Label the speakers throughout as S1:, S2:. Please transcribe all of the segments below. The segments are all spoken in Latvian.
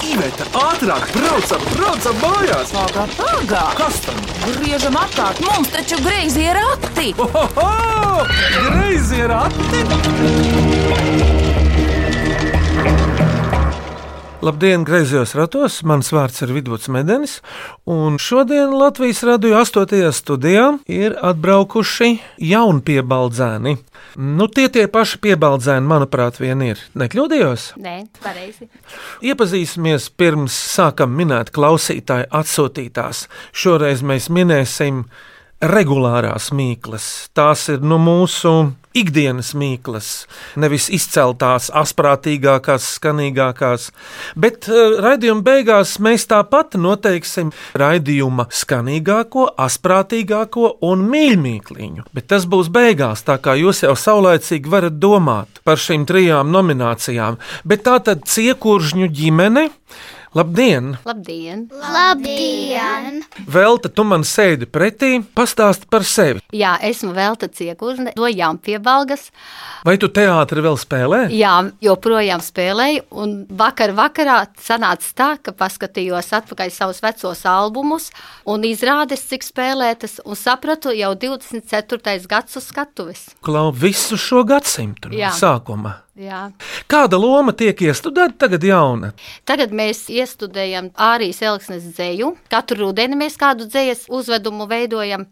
S1: Iveta, ātrāk, braucam, braucam mājās!
S2: Pagā, pagā!
S1: Kas tam?
S2: Griežam apkārt, mums taču greizi ir rati!
S1: Ohoho! Greizi ir atti!
S3: Labdien, grazījos ratos. Mans vārds ir Vidvuds Medenis. Un šodien Latvijas radio 8. studijā ir atbraukuši jauni piebaldzēni. Nu, tie tie paši piebaldzēni, manuprāt, vien ir. Nekļūdījos?
S4: Nē, pareizi.
S3: Iepazīsimies pirms sākam minēt klausītāju atsūtītās. Šoreiz mēs minēsim regulārās mīklas. Tās ir no mūsu ikdienas mīklas, nevis izceltās, asprātīgākās, skanīgākās. Bet eh, raidījuma beigās mēs tāpat noteiksim raidījuma skanīgāko, asprātīgāko un mīļākliņu. Bet tas būs beigās, tā kā jūs jau saulēcīgi varat domāt par šīm trijām nominācijām. Bet tā tad ciekuržņu ģimene. Labdien!
S4: Labdien!
S5: Labdien!
S3: Velta, tu man sēdi pretī, pastāsti par sevi.
S4: Jā, esmu Velta Ciekužne no Jaunpiebalgas.
S3: Vai tu teātri vēl spēlē?
S4: Jā, joprojām spēlēju, un vakar vakarā sanāca tā, ka paskatījos atpakaļ savus vecos albumus un izrādes, cik spēlētas, un sapratu jau 24. gads uz skatuves.
S3: Klau visu šo gadsimtu no
S4: Jā.
S3: sākuma.
S4: Jā.
S3: Kāda loma tiek iestudēta tagad jauna?
S4: Tagad mēs iestudējam Ārijas Elksnes dzēju. Katru rudeni mēs kādu dzējas uzvedumu veidojam.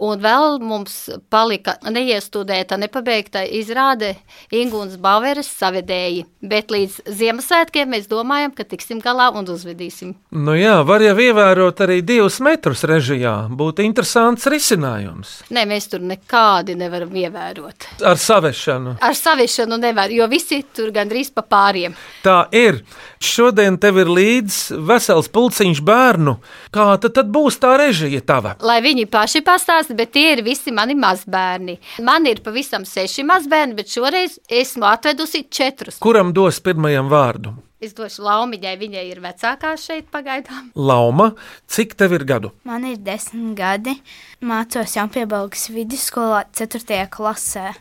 S4: Un vēl mums palika neiestudēta, nepabeigta izrāde Ingūnas Baueres savedēji. Bet līdz Ziemassvētkiem mēs domājam, ka tiksim galā un uzvedīsim.
S3: Nu jā, var jau ievērot arī divus metrus režijā. Būtu interesants risinājums
S4: Nē, mēs tur nekādi nevaram ievērot.
S3: ar savešanu.
S4: Ar savišanu nevar, jo visi tur gandrīz pa pāriem.
S3: Tā ir. Šodien tev ir līdzi vesels pulciņš bērnu. Kā tad, tad būs tā režija tava?
S4: Lai viņi paši pastāsta, bet tie ir visi mani mazbērni. Man ir pavisam seši mazbērni, bet šoreiz esmu atvedusi četrus.
S3: Kuram dos pirmajam vārdu?
S4: Es došu laumiņai, viņai ir vecākā šeit pagaidām.
S3: Lauma, cik tev ir gadu?
S5: Man ir desmit gadi. Mācos jau piebalgs vidusskolā, 4. klasē.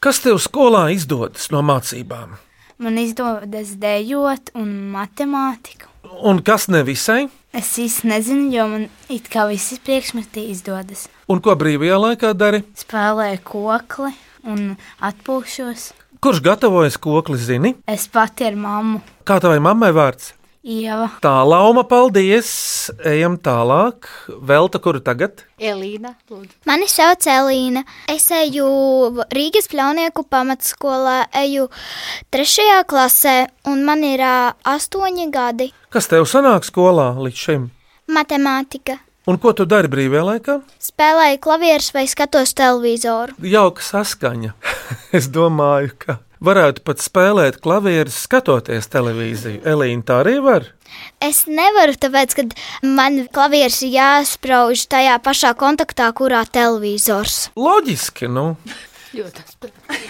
S3: Kas tev skolā izdodas no mācībām?
S5: Man izdodas dejot un matemātiku.
S3: Un kas nevisai?
S5: Es īsti nezinu, jo man it kā visi priekšmeti izdodas.
S3: Un ko brīvajā laikā dari?
S5: Spēlēju kokli un atpūšos.
S3: Kurš gatavojas kokli, zini?
S5: Es pati ar mammu
S3: Kā tavai mammai vārds?
S5: Ieva.
S3: Tā lauma, paldies! Ejam tālāk. Velta, kuru tagad?
S4: Elīna, lūdzu.
S6: Mani sauc Elīna. Es eju Rīgas pļaunieku pamatskolā, eju trešajā klasē, un man ir ā, astoņi gadi.
S3: Kas tev sanāk skolā līdz šim?
S6: Matemātika.
S3: Un ko tu dari brīvajā laikā?
S6: Spēlēju klavierus vai skatos televizoru.
S3: Jauka saskaņa. es domāju, ka varētu pat spēlēt klavierus, skatoties televīziju. Elīna, tā arī var.
S6: Es nevaru, tāpēc, ka man klavierus ir jāsprauž tajā pašā kontaktā, kurā televizors.
S3: Loģiski, nu.
S4: Ļoti spēcīgi.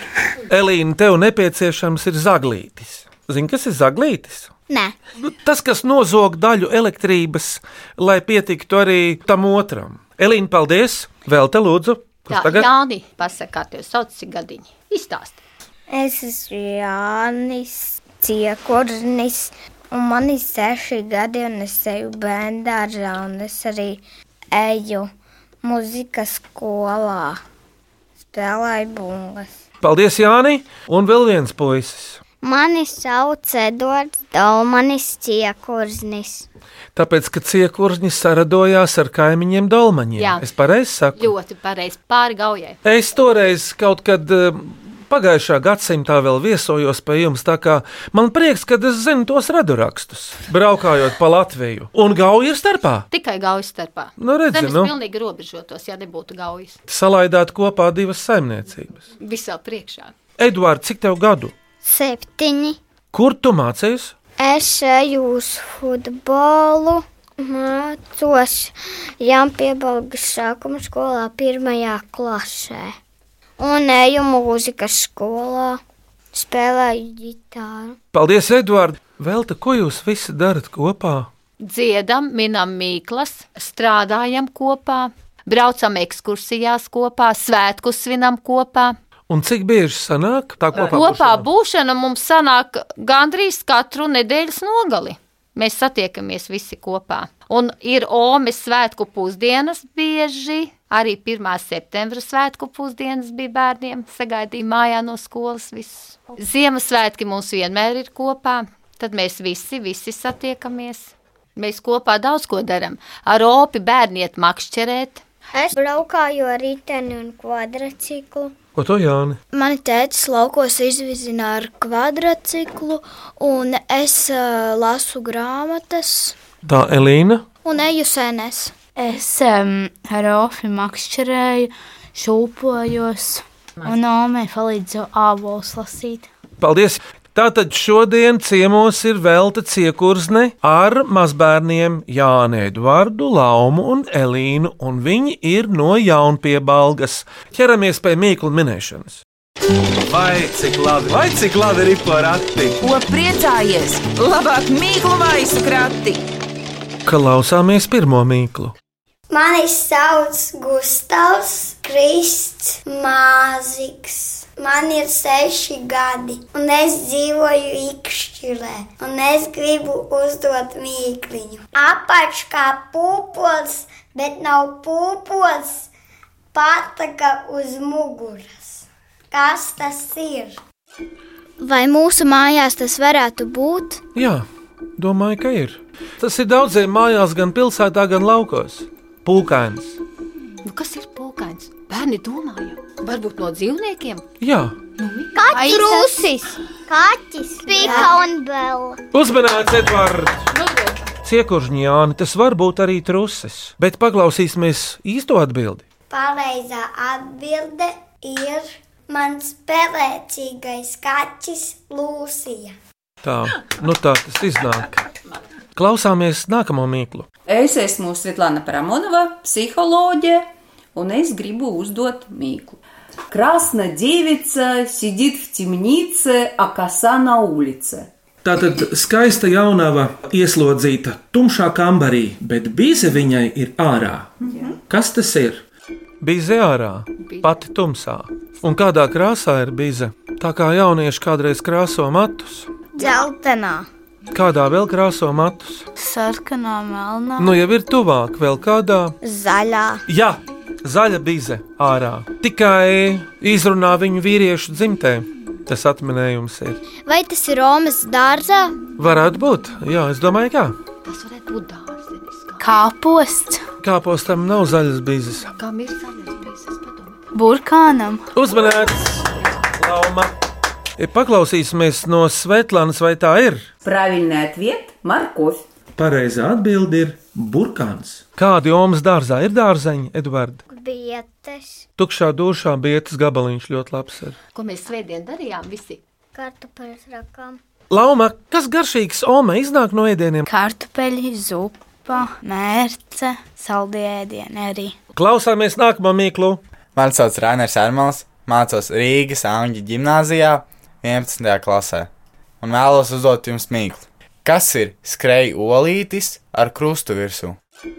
S3: Elīna, tev nepieciešams ir zaglītis. Zini, kas ir zaglītis?
S6: Nē,
S3: Nu, Tas, kas nozog daļu elektrības, lai pietiktu arī tam otram. Elīna, paldies! Vēl te lūdzu,
S4: Jā,
S3: kurš tagad?
S4: Jāni, pasakāt, jūs sauc cik gadiņi. Izstāst.
S7: Es esmu Jānis Ciekurnis, un man ir seši gadi, un es eju bērnu dārzā, un es arī eju muzikas skolā. Spēlēju bungas.
S3: Paldies, Jāni! Un vēl viens puisis.
S7: Mani sauc Edvards Dalmanis Ciekurznis.
S3: Tāpēc, ka ciekurņi saradojās ar kaimiņiem dolmaņiem.
S4: Jā.
S3: Es pareizi saku.
S4: Ļoti pareizi pāri gaujai.
S3: Es toreiz kaut kad. um, Pagājušā gadsimtā vēl viesojos pie jums, tā kā man prieks, ka es zinu tos radurakstus, braukājot pa Latviju. Un gauja ir starpā.
S4: Tikai gaujas starpā.
S3: Nu, redzi,
S4: Zemes
S3: nu.
S4: pilnīgi robežotos, ja nebūtu gaujas.
S3: Salaidāt kopā divas saimniecības.
S4: Visā priekšā.
S3: Eduards, cik tev gadu?
S7: Septiņi.
S3: Kur tu mācījies?
S7: Es eju uz futbolu. Mācos Jāmpiebalgas sākuma skolā, pirmajā klasē. Un eju mūzikas skolā, spēlēju ģitāru.
S3: Paldies, Eduards! Velta, ko jūs visi darat kopā?
S4: dziedam, minam mīklas, strādājam kopā, braucam ekskursijās kopā, svētkus svinam kopā.
S3: Un cik bieži sanāk tā kopā?
S4: Kopā
S3: būšana?
S4: būšana mums sanāk gandrīz katru nedēļas nogali. Mēs satiekamies visi kopā. Un ir Omas svētku pusdienas bieži. Arī 1. septembra svētku pusdienas bija bērniem. Sagaidīja mājā no skolas viss. Ziemassvētki mums vienmēr ir kopā. Tad mēs visi, visi satiekamies. Mēs kopā daudz ko darām. Ar opi bērniet makšķerēt.
S7: Es braukāju ar riteni un kvadrciklu.
S3: Ko tu, Jāni?
S6: Mani tēcis laukos izvizina ar kvadrciklu, un es uh, lasu grāmatas
S3: Tā Elīna.
S6: un eju sēnēs.
S5: Es um, ar Ofi makšķerēju, šūpojos, un Omei palīdzu ābolus lasīt.
S3: Paldies! Tātad šodien ciemos ir velta ciekursne ar mazbērniem Jānu Edvardu, Laumu un Elīnu, un viņi ir no jaunpiebalgas. Ķeramies pie mīklu minēšanas.
S1: Vai cik labi, vai cik labi ir porati?
S2: Ko priecājies? Labāk mīklu maisu krati.
S3: Klausāmies pirmo mīklu.
S7: Mani sauc Gustavs Krists Māziks. Man ir seši gadi, un es dzīvoju īkšķirē, un es gribu uzdot mīkliņu. Apač kā pūpols, bet nav pūpols, pataka uz muguras. Kas tas ir?
S6: Vai mūsu mājās tas varētu būt?
S3: Jā, domāju, ka ir. Tas ir daudziem mājās, gan pilsētā, gan laukos. Pūkains.
S4: Nu, kas ir pūkains? Bērni domāju, varbūt no dzīvniekiem.
S3: Jā,
S7: Trusis, kaķis, pika un bela.
S3: uzmanīts, Nu, Edvards! Ciekuržņi Jāni, tas var būt arī truses, bet paklausīsimies īsto atbildi.
S7: Pareizā atbilde ir mans pelēcīgais kaķis Lūsija.
S3: Tā, nu tā tas iznāk. Klausāmies nākamo mīklu.
S8: Es esmu Svetlana Paramonova, психология, un es gribu uzdot mīklu. Красная девица сидит в темнице, а коса на улице.
S3: Tātad skaista jaunava ieslodzīta tumšā kambarī, bet bīze viņai ir ārā. Kas tas ir? Bīze ārā, pati tumsā. Un kādā krāsā ir bīze? Tā kā jaunieši kādreiz krāso matus,
S5: Zeltenā,
S3: kādā vēl krāso matus?
S5: sarkanā, melnā,
S3: Nu, jau ir tuvāk, vēl kādā.
S5: zaļā.
S3: Jā, zaļa bīze ārā. Tikai izrunā viņu vīriešu dzimtē. Tas atminējums ir.
S6: Vai tas ir Romas dārzā?
S3: Varētu būt, jā, es domāju, kā.
S4: Tas varētu būt dārzenis. Kā-
S5: Kāposts,
S3: Kāpos tam nav zaļas bīzes?
S4: Kam ir zaļais bīzes? Padomā.
S5: burkānam,
S3: Uzmanīts! Lauma! Paklausīsimies no Svetlānas, vai tā ir?
S8: Правильный ответ – морковь.
S3: Pareizā atbilde ir burkāns. Kādi jomas dārzā ir dārzeņi, Edvards?
S7: Bietes,
S3: Tukšā dušā bietas gabaliņš ļoti labs ir.
S4: Ko mēs svētdien darījām visi?
S7: kartupeļs rakām.
S3: Lauma, kas garšīgs Oma iznāk no ēdieniem?
S5: kartupeļi, zupa, mērce, saldēdieni arī.
S3: Klausāmies nākamo mīklu.
S9: Mani sauc Rainers Ermels, mācos Rīgas Angļu gimnāzijā 11. klasē un vēlos uzdot jums mīklu. Kas ir skrejs olītis ar krustu virsū?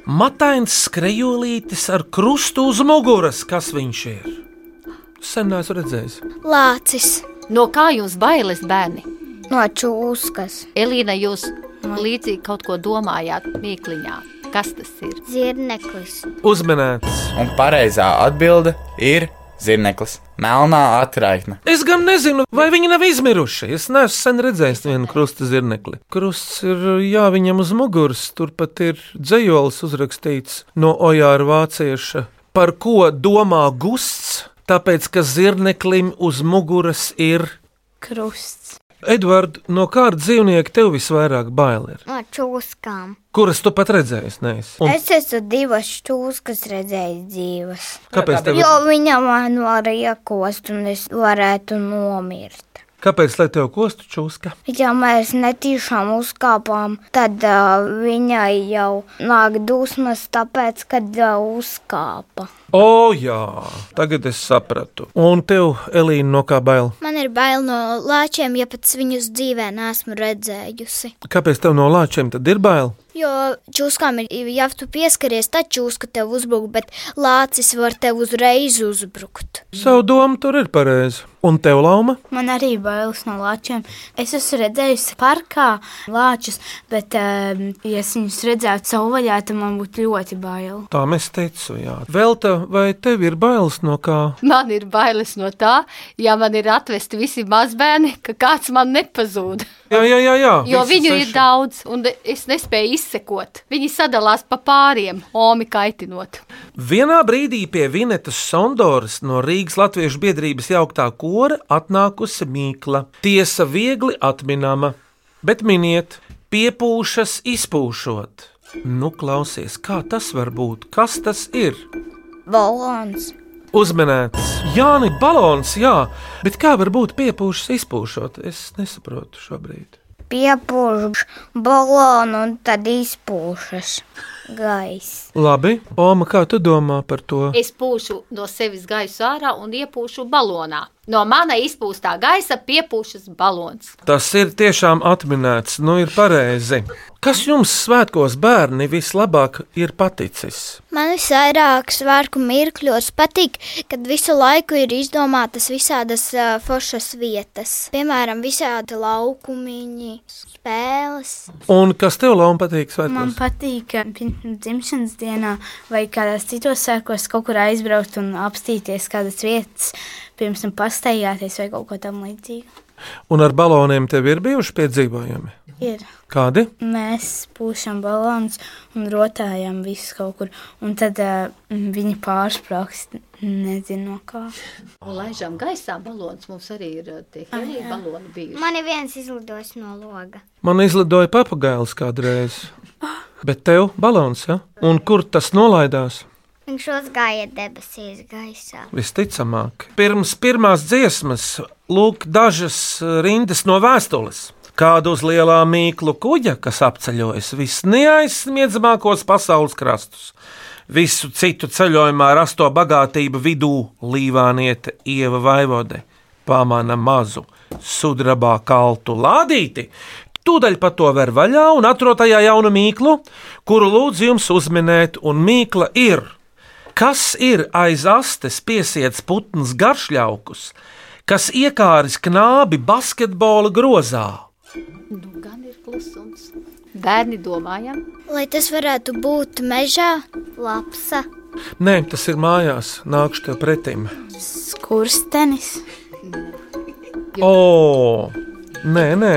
S3: Matains skrejolītis ar krustu uz muguras, kas viņš ir? Sen neesmu redzējis.
S6: Lācis.
S4: No kā jums bailes, bērni?
S7: No čūskas,
S4: Elīna, jūs līdzīgi kaut ko domājāt, mīkliņā. Kas tas ir?
S7: zirneklis,
S3: Uzmanīts!
S9: Un pareizā atbilde ir zirneklis, melnā atraitne.
S3: Es gan nezinu, vai viņi nav izmiruši. Es neesmu sen redzējis vienu krusta zirnekli. Krusts ir, jā, viņam uz muguras, turpat ir dzējolis uzrakstīts no Ojāra vācieša. Par ko domā gusts? Tāpēc, ka zirneklim uz muguras ir.
S5: Krusts,
S3: Edvard, no kāda dzīvnieka tev visvairāk bail ir?
S7: no čūskām.
S3: Kuras tu pat redzējis? Neesi? Un
S7: Es esmu divas čūskas redzējis dzīves.
S3: kāpēc tev,
S7: Jo viņa man var iekost, un es varētu nomirt.
S3: kāpēc lai tev kostu čūska?
S7: Ja mēs netīšām uzkāpām, tad uh, viņai jau nāk dusmas, tāpēc, kad uh, uzkāpa.
S3: O, jā, tagad es sapratu. Un tev, Elīna, no kā bail?
S6: Man ir bail no lāčiem, ja pats viņus dzīvē neesmu redzējusi.
S3: Kāpēc tev no lāčiem tad ir bail?
S6: Jo čūskām ir jāftu pieskaries, tad čūska tev uzbruk, bet lācis var tev uzreiz uzbrukt.
S3: Savu domu tur ir pareizi. Un tev lauma?
S6: Man arī bailes no lāčiem. Es esmu redzējusi parkā lāčus, bet, um, ja es viņus redzētu savvaļā, tad man būtu ļoti bail.
S3: Tā mēs teicu, jā. Velta, vai tev ir bailes no kā?
S4: Man ir bailes no tā, ja man ir atvesti visi mazbērni, ka kāds man nepazūd.
S3: Jā, jā, jā. jā.
S4: Jo
S3: visi
S4: viņu ir
S3: seši.
S4: daudz, un es nespēju izsekot. Viņi sadalās pa pāriem, omi kaitinot.
S3: Vienā brīdī pie Vinetas Sondoras no Rīgas Latviešu biedrības jauktā kora atnākusi mīkla. Tiesa viegli atminama, bet miniet, piepūšas izpūšot. Nu, klausies, kā tas var būt? Kas tas ir?
S10: Balons.
S3: Uzmanēts, Jānis Balons, jā, bet kā var būt piepūšas izpūšot? Es nesaprotu šobrīd.
S10: Piepūžu balonu un tad izpūšas gaisa.
S3: Labi, Oma, kā tu domā par to?
S4: Es pūšu no sevis gaisu ārā un iepūšu balonā. No mana izpūstā gaisa piepūšas balons.
S3: Tas ir tiešām atminēts, nu ir pareizi. Kas jums svētkos bērni vislabāk ir paticis?
S7: Man visvairāk svārku mirkļos patīk, kad visu laiku ir izdomātas visādas uh, foršas vietas. Piemēram, visādi laukumiņi, spēles.
S3: Un kas tev labi patīk
S6: Man
S3: svētkos?
S6: patīk, ka pirms dzimšanas dienā vai kādās citos sēkos kaut kur aizbraukt un apstīties kādas vietas, pirms tam pastaigāties vai kaut ko tam līdzīgu.
S3: Un ar baloniem tev ir bijuši piedzīvojumi?
S6: Ir.
S3: Kādi?
S6: Mēs pūšam balons un rotājam visu kaut kur, un tad uh, viņi pārsprāgs, nezinu no kā.
S4: Un laižām gaisā balons. Mums arī ir eh, tie heli baloni bijuši.
S7: Man ir viens izlidojis no loga.
S3: Man izlidoja papagails kādreiz. Bet tev balons, ja? Un kur tas nolaidās?
S7: Viņš uzgāja debesīs gaisā.
S3: Visticamāk, pirms pirmās dziesmas, lūk, dažas eh, rindas no vēstules. Kādu uz lielā mīklu kuģa, kas apceļojas visneaizsniedzamākos pasaules krastus, visu citu ceļojumā rasto bagātību vidū līvāniete Ieva Vaivode pamana mazu sudrabā kaltu lādīti. Tūdaļ pa to ver vaļā un atrod tajā jaunu mīklu, kuru lūdzu jums uzminēt, un mīkla ir Kas ir aiz astes piesiets putns garšļaukus, kas iekāris knābi basketbola grozā?
S4: Nu, gan ir klusums. Bērni domājam,
S7: Lai tas varētu būt mežā, lapsa.
S3: Nē, tas ir mājās, nākšu tev pretim.
S6: Skurstenis.
S3: O, nē, nē.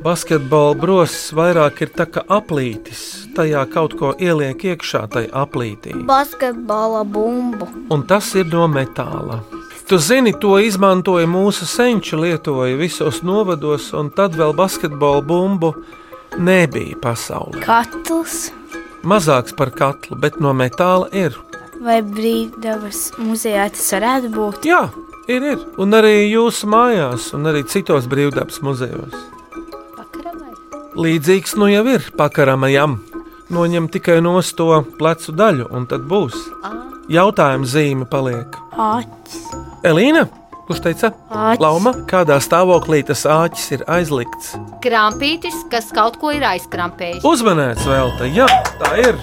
S3: Basketbola brosas vairāk ir tā kā aplītis. Tajā kaut ko ieliek iekšā, tai aplītī.
S10: Basketbola bumbu.
S3: Un tas ir no metāla. Tu zini, to izmantoja mūsu senči, lietoja visos novados, un tad vēl basketbola bumbu nebija pasaulē.
S6: Katls
S3: Mazāks par katlu, bet no metāla ir.
S6: vai brīvdabas muzejā tas varētu būt.
S3: Jā, ir, ir. Un arī jūsu mājās, un arī citos brīvdabas muzejos.
S4: vakarā vai
S3: Līdzīgs nu jau ir pakaramajam. Noņem tikai no to plecu daļu, un tad būs. Jautājuma zīme paliek.
S6: Āķis.
S3: Elīna, kurš teica?
S6: Āķis.
S3: Lauma, kādā stāvoklī tas āķis ir aizlikts?
S4: krampītis, kas kaut ko ir aizkrampējis.
S3: Uzmanēts vēl te, jā, tā ir.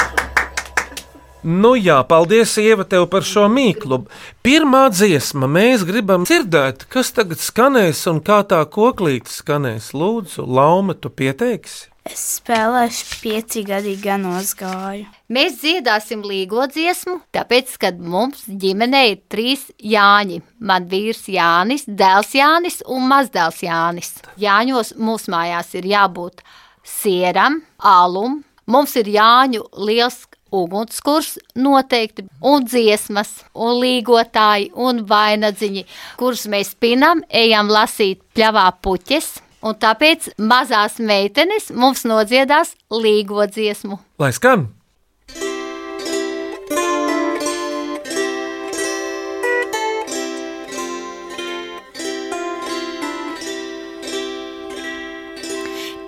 S3: Nu jā, paldies, Ieva, tev par šo mīklu. Pirmā dziesma, mēs gribam dzirdēt, kas tagad skanēs un kā tā koklīte skanēs. Lūdzu, Lauma, tu pieteiksi?
S6: Es spēlēšu pieci gadi gan uzgāju.
S4: Mēs dziedāsim līgo dziesmu, tāpēc, kad mums ģimenē ir trīs Jāņi. Man vīrs Jānis, dēls Jānis un mazdēls Jānis. Jāņos mūsu mājās ir jābūt sieram, alum, mums ir Jāņu liels ugunskurs noteikti, un dziesmas, un līgotāji, un vainadziņi, kurus mēs pinam, ejam lasīt pļavā puķes, un tāpēc mazās meitenes mums nodziedās līgo dziesmu.
S3: Lai skan!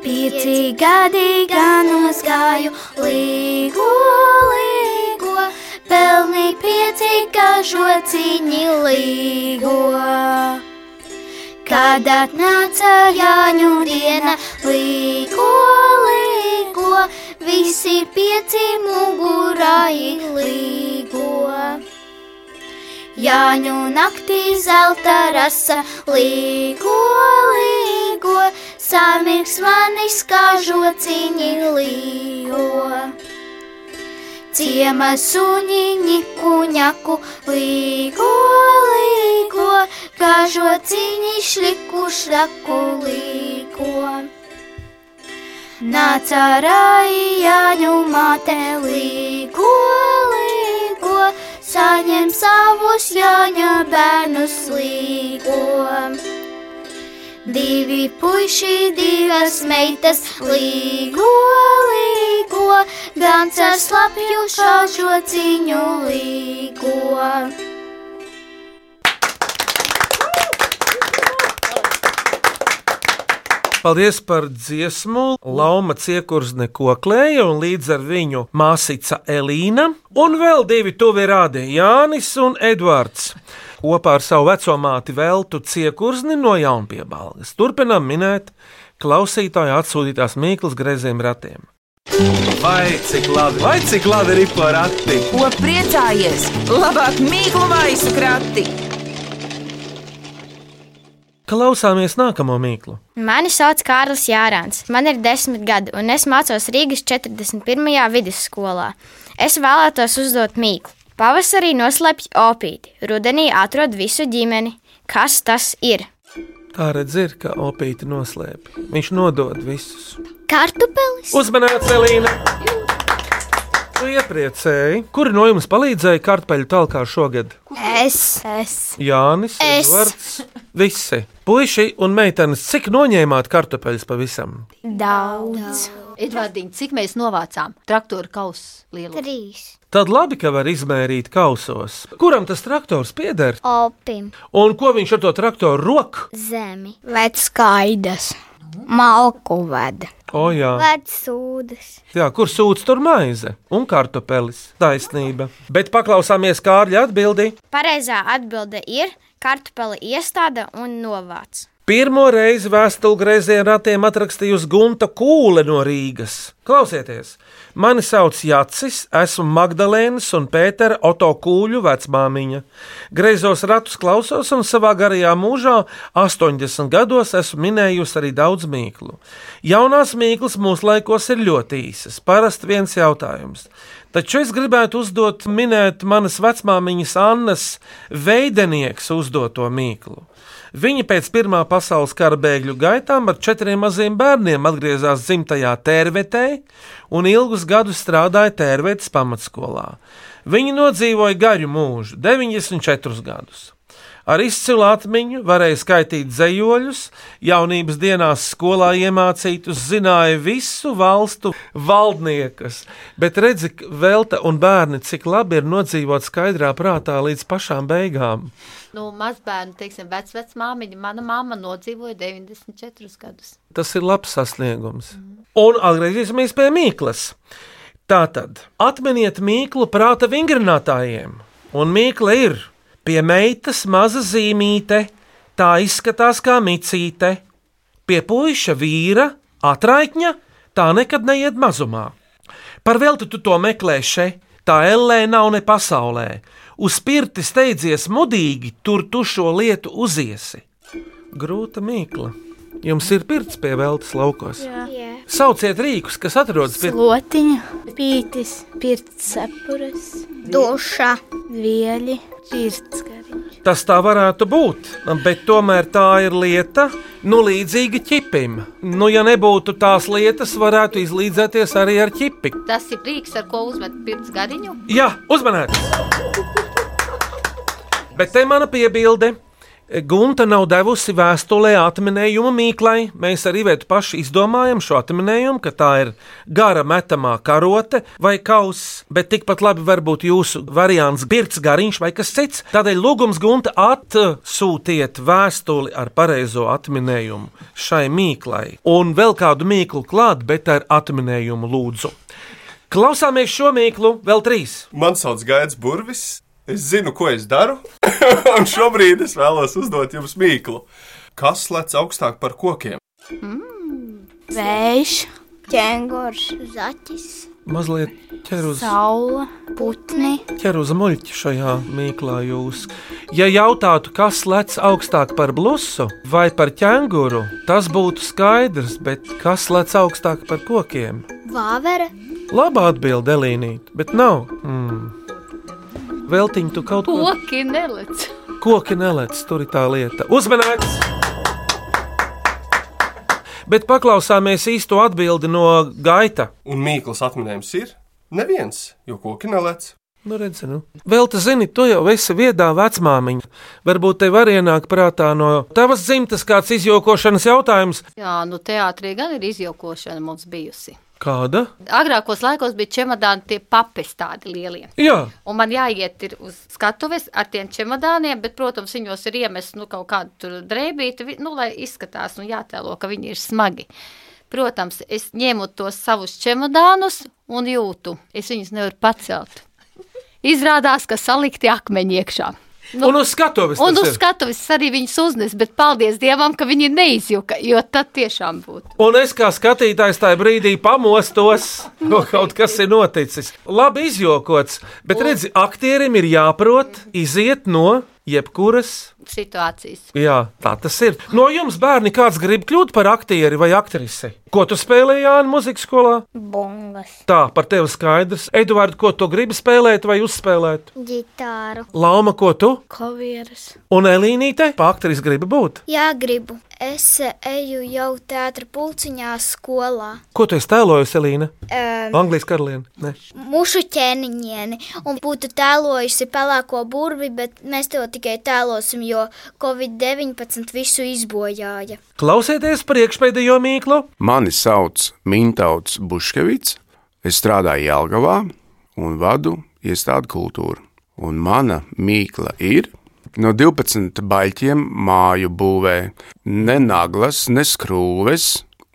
S6: Pieci gadi gan uzgāju, līgo, līgo, pelni pieci kažociņi līgo. Kad atnāca Jāņu diena, līgo, līgo, visi pieci mugurā ir līgo. Jāņu naktī zelta rasa, līgo, līgo, samiks manis kā žociņi līgo. Ciema suņiņi kuņaku, līgo, līgo, kā žociņi šliku šlaku līgo. Nāca rājāņu māte, līgo, līgo, saņem savus jāņa bērnus līgo. Divi puiši, divas meitas, līgo, līgo, gan ar slapju šāžo ciņu līgo.
S3: Paldies par dziesmu. Lauma ciekurs neko klēja, un līdz ar viņu māsīca Elīna un vēl divi tuvi rādi - Jānis un Edvards. Kopā ar savu veco māti veltu ciekurzni no jaunpiebalgas. Turpinām minēt klausītāju atsūtītās mīklas greziem ratiem.
S1: Vai cik labi, vai cik labi ripo rati?
S2: Ko priecājies? Labāk mīklu maisu krati!
S3: Klausāmies nākamo mīklu.
S7: Mani sauc Kārlis Jārāns. Man ir desmit gadi, un es mācos Rīgas 41. vidusskolā. Es vēlētos uzdot mīklu. Pavasarī noslēpj opīti, rudenī atrod visu ģimeni. Kas tas ir?
S3: Tā redz ir, ka opīti noslēpj. Viņš nodod visus.
S6: Kartupelis,
S3: Uzmanīts, Elīna! Tu iepriecēji, kuri no jums palīdzēja kartupeļu talkā šogad?
S7: Es.
S3: Jānis,
S6: Es.
S3: Edvards, visi. Puisi un meitenes, cik noņēmāt kartupeļus pavisam?
S4: Edvardiņ, cik mēs novācām traktoru kausu lielu?
S6: trīs,
S3: Tad labi, ka var izmērīt kausos. Kuram tas traktors pieder?
S6: opim,
S3: Un ko viņš ar to traktoru roku?
S6: zemi,
S7: Vec skaidrs. Malku ved.
S3: O, jā.
S6: vērts sūdas.
S3: jā, kur sūdz tur maize un kartupelis. Taisnība. Bet paklausāmies Kārļa atbildi.
S7: Pareizā atbilde ir kartupeli iestāde un novāc.
S3: Pirmo reizi vēstulgrēzienu ratiem atrakstījusi Gunta Kūle no Rīgas. Klausieties, mani sauc Jācis, esmu Magdalēnas un Pētera Oto Kūļu vecmāmiņa. Greizos ratus klausos un savā garajā mūžā, 80 gados, esmu minējusi arī daudz mīklu. Jaunās mīklas mūsdienās ir ļoti īsas, parasti viens jautājums. Taču es gribētu uzdot minēt manas vecmāmiņas Annas veidenieks uzdoto mīklu. Viņa pēc Pirmā pasaules kara bēgļu gaitām ar četriem maziem bērniem atgriezās dzimtajā tērvetē un ilgus gadus strādāja tērvetes pamatskolā. Viņa nodzīvoja gaļu mūžu, 94 gadus. Ar izcilu atmiņu varēja skaitīt zemoļus, jaunības dienās skolā iemācītus, zināja visu valstu valdniekus. Bet redzi, k- velta un bērni, cik labi ir nodzīvot skaidrā prātā līdz pašām beigām.
S4: Nu, mazbērnu, teiksim, vecmāmiņa, mana mamma nodzīvoja 94 gadus.
S3: Tas ir labs sasniegums. Mm. Un atgriezīsimies pie mīklas. Tātad atminiet mīklu prāta vingrinātājiem. Un mīkla ir pie meitas maza zīmīte, tā izskatās kā micīte. Pie puika vīra atraitņa tā nekad neiet mazumā. Par velti tu to meklē šeit, tā ellē nav ne pasaulē. Uz spirti steidzies mudīgi, tur tu šo lietu uziesi. Grūta mīkla. Jums ir pirts pie veltes laukos.
S6: Jā.
S3: Sauciet rīkus, kas atrodas pie
S5: Lotiņa, pītis, pirts sapuras,
S6: Duša,
S5: vieļi, pirts gariņš.
S3: Tas tā varētu būt, bet tomēr tā ir lieta, nu, līdzīga ķipim. Nu, ja nebūtu tās lietas, varētu izlīdzēties arī ar ķipi.
S4: Tas ir rīks, ar ko uzmet pirts gadiņu.
S3: Jā, uzmanīt! Bet te mana piebilde. Gunta nav devusi vēstulē atminējuma mīklai. Mēs arī vētu paši izdomājam šo atminējumu, ka tā ir gara metamā karote vai kauss, bet tikpat labi var būt jūsu variants birts, gariņš vai kas cits. Tādēļ lūgums Gunta atsūtiet vēstuli ar pareizo atminējumu šai mīklai. Un vēl kādu mīklu klāt, bet ar atminējumu lūdzu. Klausāmies šo mīklu vēl trīs.
S11: Man sauc Gaits Burvis, es zinu, ko es daru, un šobrīd es vēlos uzdot jums mīklu. Kas lec augstāk par kokiem?
S5: Vējš,
S6: ķēngurs, zaķis,
S3: mazliet ķer uz,
S5: Saula, putni.
S3: ķer uz muļķi šajā mīklā jūs. Ja jautātu, kas lec augstāk par blusu vai par ķēnguru, tas būtu skaidrs, bet kas lec augstāk par kokiem?
S6: Vāvera,
S3: Labā atbilde, Elīnīt, bet nav. Mm. Veltiņ, tu kaut ko
S4: Koki nelec.
S3: koki nelec, tur ir tā lieta. Uzmanīgs! Bet paklausāmies īsto atbildi no gaita.
S11: Un mīklas atminējums ir neviens, jo koki nelec.
S3: Nu, redzi, nu. Vēl te zini, tu jau esi viedā vecmāmiņa. Varbūt tev arī ienāk prātā no tavas dzimtas kāds izjokošanas jautājums.
S4: Jā, nu teātrī gan ir izjokošana mums bijusi.
S3: Kāda?
S4: Agrākos laikos bija čemodāni tie papes tādi lielie.
S3: Jā,
S4: Un man jāiet ir uz skatuves ar tiem čemodāniem, bet, protams, viņos ir iemest nu, kaut kādu tur drēbīti, vi- nu, lai izskatās un jātēlo, ka viņi ir smagi. Protams, es ņēmu tos savus čemodānus un jūtu, es viņus nevaru pacelt. Izrādās, ka salikti akmeņi iekšā.
S3: nu, un uz skatuves.
S4: Un
S3: tas
S4: uz
S3: ir.
S4: skatuves arī viņas uznes, bet paldies Dievam, ka viņi neizjuka, jo tad tiešām būtu.
S3: Un es kā skatītājs tajā brīdī pamostos, ka kaut kas ir noticis. Labi izjokots, bet redzi, aktierim ir jāprot iziet no jebkuras.
S4: Situācijas.
S3: Jā, tā tas ir. No jums, bērni, kāds grib kļūt par aktieri vai aktrisi? Ko tu spēlēji Jānis muzikas skolā?
S7: bungas,
S3: Tā, par tevi skaidrs. Eduards, ko tu gribi spēlēt vai uzspēlēt?
S6: ģitāru.
S3: Lauma, ko tu?
S5: Kovieras.
S3: Un Elīnīte? Pakāpstris gribi būt.
S6: Jā, gribu. Es eh, eju jau teātra pulciņā skolā.
S3: Ko tu esi tēlojis, Elīna?
S6: Um,
S3: Anglijas karaliene. Ne.
S6: Mūsu ķēniņieni, un būtu tēlojusi pelēko burvi, bet mēs to tikai tēlosim, jo Covid-19 visu izbojāja.
S3: Klausieties priekšpēdējo mīklu.
S12: Mani sauc Mintauts Buškevits. Es strādāju Jālgavā un vadu iestādi kultūru. Un mana mīkla ir no 12 baļķiem māju būvē. Ne naglas, ne skrūves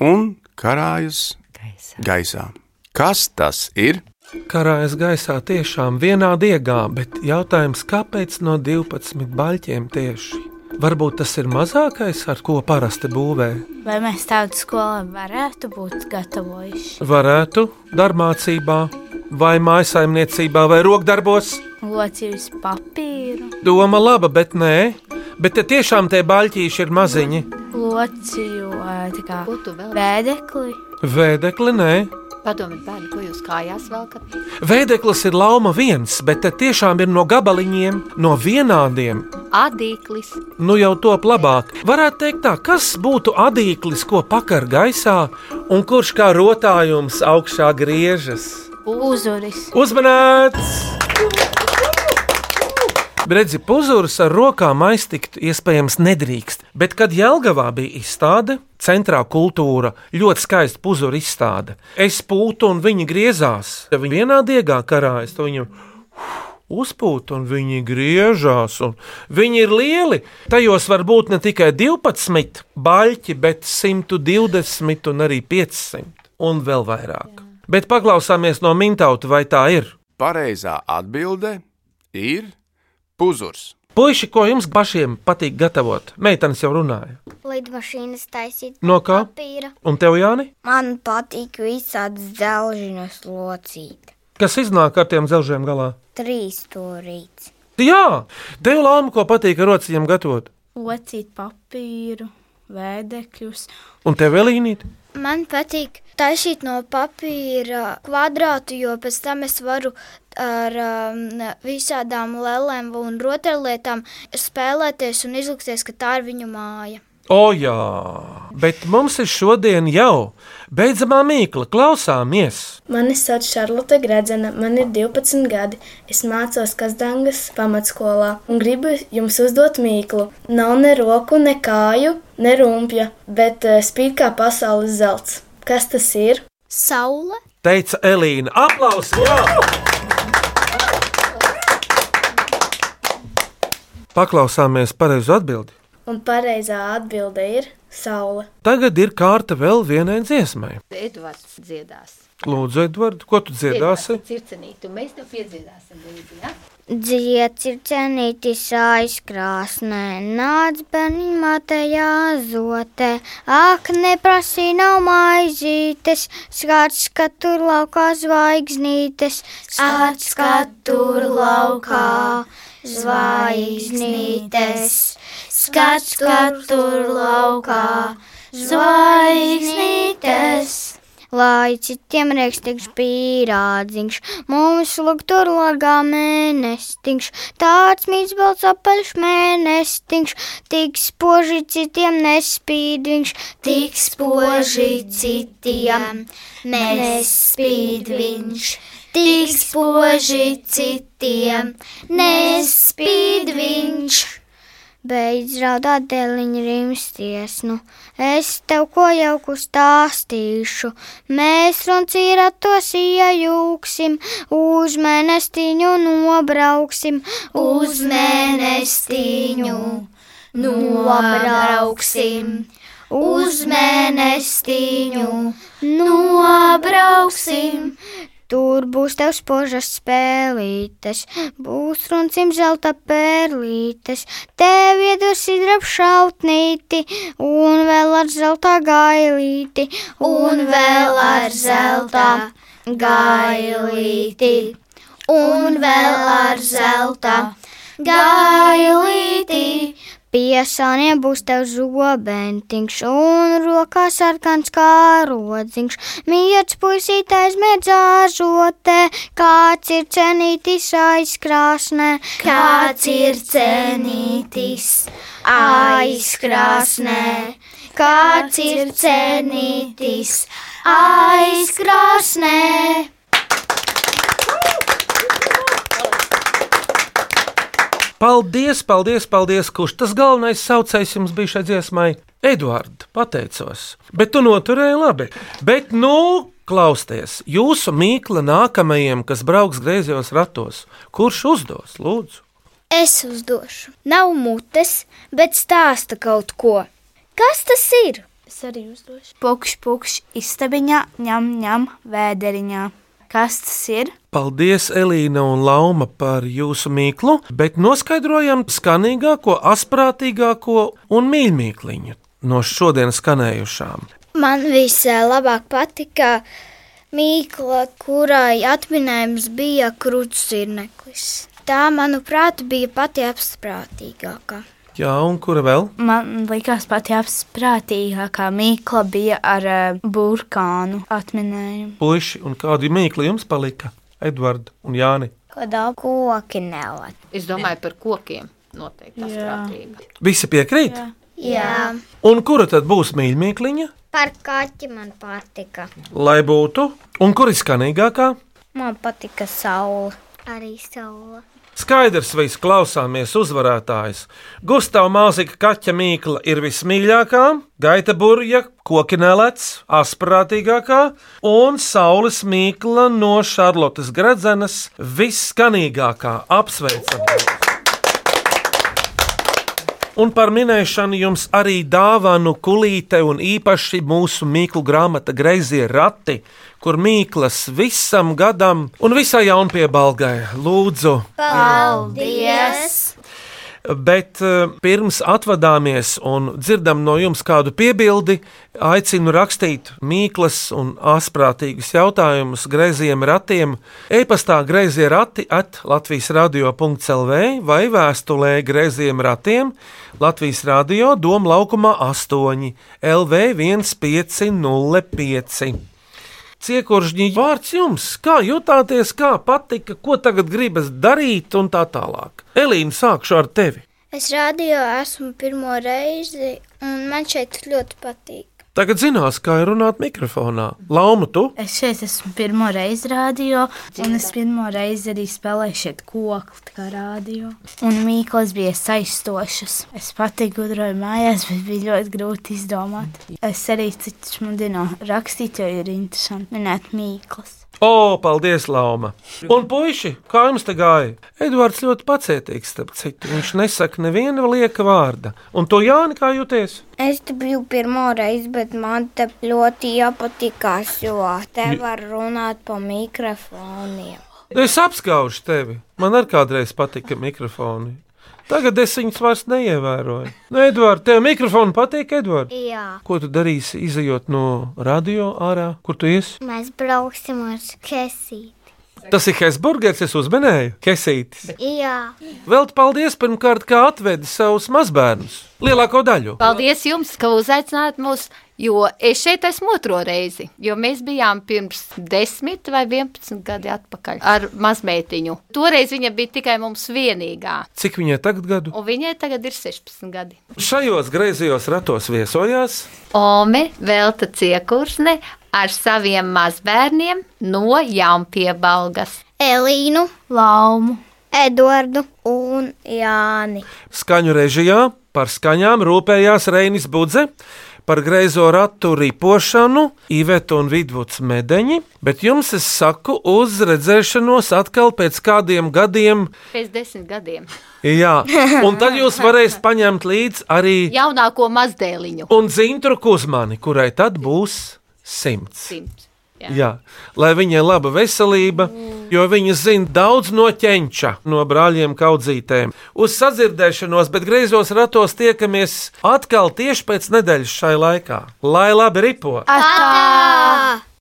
S12: un karājas gaisā. gaisā. Kas tas ir?
S3: Karājas gaisā tiešām vienā diegā, bet jautājums, kāpēc no 12 baļķiem tieši? Varbūt tas ir mazākais, ar ko parasti būvē.
S5: Vai mēs tādu skolu varētu būt gatavojuši?
S3: Varētu darbmācībā, vai mājsaimniecībā, vai rokdarbos.
S5: Locījus papīru,
S3: Doma laba, bet nē. Bet tie tiešām tie baļķīši ir maziņi.
S5: locīju ā, tā kā
S4: Ko tu vēl?
S5: vēdekli.
S3: Vēdekli nē.
S4: Padomiet, bērni, ko jūs kājās velkat?
S3: Vēdeklis ir lauma viens, bet te tiešām ir no gabaliņiem, no vienādiem.
S4: Adīklis.
S3: Nu jau top labāk. Varētu teikt, tā, kas būtu adīklis, ko pakar gaisā, un kurš kā rotājums augšā griežas?
S5: Uzuris.
S3: Uzmanīts! Redzi, puzurs ar rokām aiztikt iespējams nedrīkst, bet kad Jelgavā bija izstāde, centrā kultūra, ļoti skaista puzura izstāde. Es pūtu un viņi griezās. Ja viņi vienā diegā karājas, tad viņiem uzpūt, un viņi griežās. un Viņi ir lieli. Tajos var būt ne tikai 12 baļķi, bet 120 un arī 500 un vēl vairāk. Bet paklausāmies no mintauta, vai tā ir.
S12: Pareizā atbilde ir puzurs.
S3: Puisi, ko jums pašiem patīk gatavot? Meitenes jau runāja.
S7: lidmašīnas taisīt.
S3: No kā?
S7: Papīra.
S3: Un tev, Jāni,
S7: Man patīk visādas dzelzinas locīt.
S3: kas iznāk ar tiem zelžiem galā?
S7: Trīs stūrītes.
S3: Jā, tev lāma, ko patīk ar rociņiem gatavot.
S5: Locīt papīru, vēdekļus.
S3: Un tev, Elīnīt,
S6: Man patīk taisīt no papīra kvadrātu, jo pēc tam es varu ar um, visādām lēlēm un rotaļlietām spēlēties un izlikties, ka tā ir viņu māja.
S3: o jā, bet mums ir šodien jau beidzamā mīkla, klausāmies!
S13: Mani sauc Šarlote Gradzena, man ir 12 gadi. Es mācos Kazdangas pamatskolā un gribu jums uzdot mīklu. Nav ne roku, ne kāju, ne rumpja, bet eh, spīd kā pasaules zelts. Kas tas ir?
S6: Saula
S3: teica Elīna. Aplausi! Jā! Paklausāmies pareizo atbildi.
S13: Un pareizā atbilde ir saule.
S3: Tagad ir kārta vēl vienai dziesmai.
S4: Edvards dziedās.
S3: Lūdzu, Edvard, ko tu dziedāsi?
S4: Circenīti, un mēs tev piedziedāsim līdzi, ja?
S6: Dzieci ir cenīti šais krāsnē, nāc bērniņ matējā azotē. Ak, neprasī nav maizītes, skats, ka tur laukā zvaigznītes. Skats, ka tur laukā zvaigznītes. Skats, ka tur laukā zvaigznītes. Lai citiem rēkstīgs pīrādziņš, mums lūk tur logā mēnestiņš, tāds mīts balts apaļš mēnestiņš, tik spoži citiem nespīdiņš, tik spoži citiem nespīdiņš, tik spoži citiem nespīdiņš. Beidz raudāt, dēliņa rīmsties, nu es tev ko jauku stāstīšu. Mēs runcīra tos iejūksim, uz mēnestiņu nobrauksim, uz mēnestiņu nobrauksim, uz mēnestiņu nobrauksim. Tur būs tev spožas spēlītes, būs runcim zelta perlītes, tev iedos idrap šautnīti, un vēl ar zelta gailīti, un vēl ar zelta gailīti, un vēl ar zelta gailīti. Piesāniem būs tev zobentiņš, un rokā sarkans kārodziņš. Mīļš puisītais medzāžotē, kāds ir cenītis aizkrāsnē, kāds ir cenītis aizkrāsnē, kāds ir cenītis aizkrāsnē.
S3: Paldies, paldies, paldies, kurš tas galvenais saucējs jums bija šai dziesmai. Eduards, pateicos, bet tu noturēji labi. Bet, nu, klausieties, jūsu mīkla nākamajiem, kas brauks griezos ratos, kurš uzdos, lūdzu?
S6: Es uzdošu. Nav mutes, bet stāsta kaut ko. Kas tas ir?
S5: Es arī uzdošu. Pukšs, pukšs, istabiņā, ņem, ņem, vēderiņā. Kas tas ir?
S3: Paldies, Elīna un Lauma, par jūsu mīklu, bet noskaidrojam skanīgāko, asprātīgāko un mīļākliņu no šodienas skanējušām.
S6: Man vislabāk patika mīkla, kurai atminējums bija krūtsirneklis. Tā, manuprāt, bija pati apsprātīgākā.
S3: Jā, un kura vēl?
S5: Man liekas, pati apsprātīgākā mīkla bija ar eh, burkānu atminējumu.
S3: Puisi, un kādi mīkli jums palika? Edvards un Jāni.
S7: Ko daudz koki nelat.
S4: Es domāju par kokiem. Noteikti tā prātība.
S3: Visi piekrīt? Jā.
S7: Jā.
S3: Un kura tad būs mīļākliņa?
S7: Par kaķi man patika.
S3: Lai būtu, un kur ir skanīgākā?
S7: Man patika saule. Arī saule.
S3: Skaidrs, viss klausāmies uzvarētājs. Gustavs Māzika kaķa mīkla ir vismīļākā, gaita burja, kokinēlēts, asprātīgākā un saules mīkla no Šarlotes gradzenes visskanīgākā. Apsveicam! Un par minēšanu jums arī dāvānu kulīte un īpaši mūsu mīklu grāmata Greizie rati, kur mīklas visam gadam un visai jaunpiebalgai lūdzu.
S6: Paldies!
S3: Bet eh, pirms atvadāmies un dzirdam no jums kādu piebildi, aicinu rakstīt mīklas un asprātīgus jautājumus greiziem ratiem. E-pastā greizie rati at Latvijas radio.clv vai vēstulē greiziem ratiem Latvijas radio Doma laukumā 8 LV 1505. Ciekuršņi vārds jums, kā jutāties, kā patika, ko tagad gribas darīt un tā tālāk. Elīna, sākšu ar tevi.
S6: Es radio esmu pirmo reizi, un man šeit ļoti patīk.
S3: Tagad zinās, kā ir runāt mikrofonā. Lauma, tu?
S5: Es šeit esmu pirmo reizi rādio, un es pirmo reizi arī spēlēju šeit kokli, tā kā rādio. Un mīklas bija saistošas. Es pati gudroju mājās, bet bija ļoti grūti izdomāt. Es arī citus mudinu rakstīt, jo ir interesanti minēt mīklas.
S3: O, paldies, Lauma. Un puiši, kā jums te gāja? Edvards ļoti pacietīgs, starp citu. Viņš nesaka neviena lieka vārda. Un to Jāni, kā jūties?
S7: Es te biju pirmo reizi, bet man te ļoti iepatikās, jo te
S3: Ju-
S7: var runāt pa mikrofoniem.
S3: Es apskaužu tevi. Man arī kādreiz patika mikrofoni. Tagad es viņus vairs neievēroju. Nu, Edvards, tev mikrofonu patīk, Edvards.
S7: Jā.
S3: Ko tu darīsi, izējot no radio ārā, kur tu iesi?
S7: Mēs brauksim uz Kesīti.
S3: Tas ir Hesburgers, es uzminēju, Kesītis.
S7: Jā.
S3: Vēl te paldies pirmkārt, kā atvedi savus mazbērnus, lielāko daļu.
S5: Paldies jums, ka uzaicinājāt mūs, jo es šeit esmu otro reizi. Jo mēs bijām pirms desmit vai vienpadsmit gadiem atpakaļ ar mazmeitiņu. Toreiz viņa bija tikai mums vienīgā,
S3: Cik viņai tagad gadu?
S5: un viņai tagad ir 16 gadi.
S3: Šajos greizajos ratos viesojās
S5: Ome Velta Ciekursne ar saviem mazbērniem no Jaunpiebalgas.
S7: Elīnu, Laumu, Eduardu un Jāni.
S3: skaņu režijā, par skaņām rūpējās Reinis Budze, par greizo ratu ripošanu Iveta un Vidvuds Medeņi, bet jums es saku uz redzēšanos atkal pēc kādiem gadiem.
S5: Pēc desmit gadiem.
S3: Jā, un tad jūs varēsiet paņemt līdzi arī
S5: Jaunāko mazdēliņu.
S3: un dzintru kuzmani, kurai tad būs simts.
S5: Simts.
S3: Jā. Jā, lai viņai laba veselība, jo viņa zina daudz no ķēņķa, no brāļiem kaudzītēm. Uz sadzirdēšanos, bet griezos ratos tiekamies atkal tieši pēc nedēļas šai laikā. Lai labi ripo!
S7: Atā!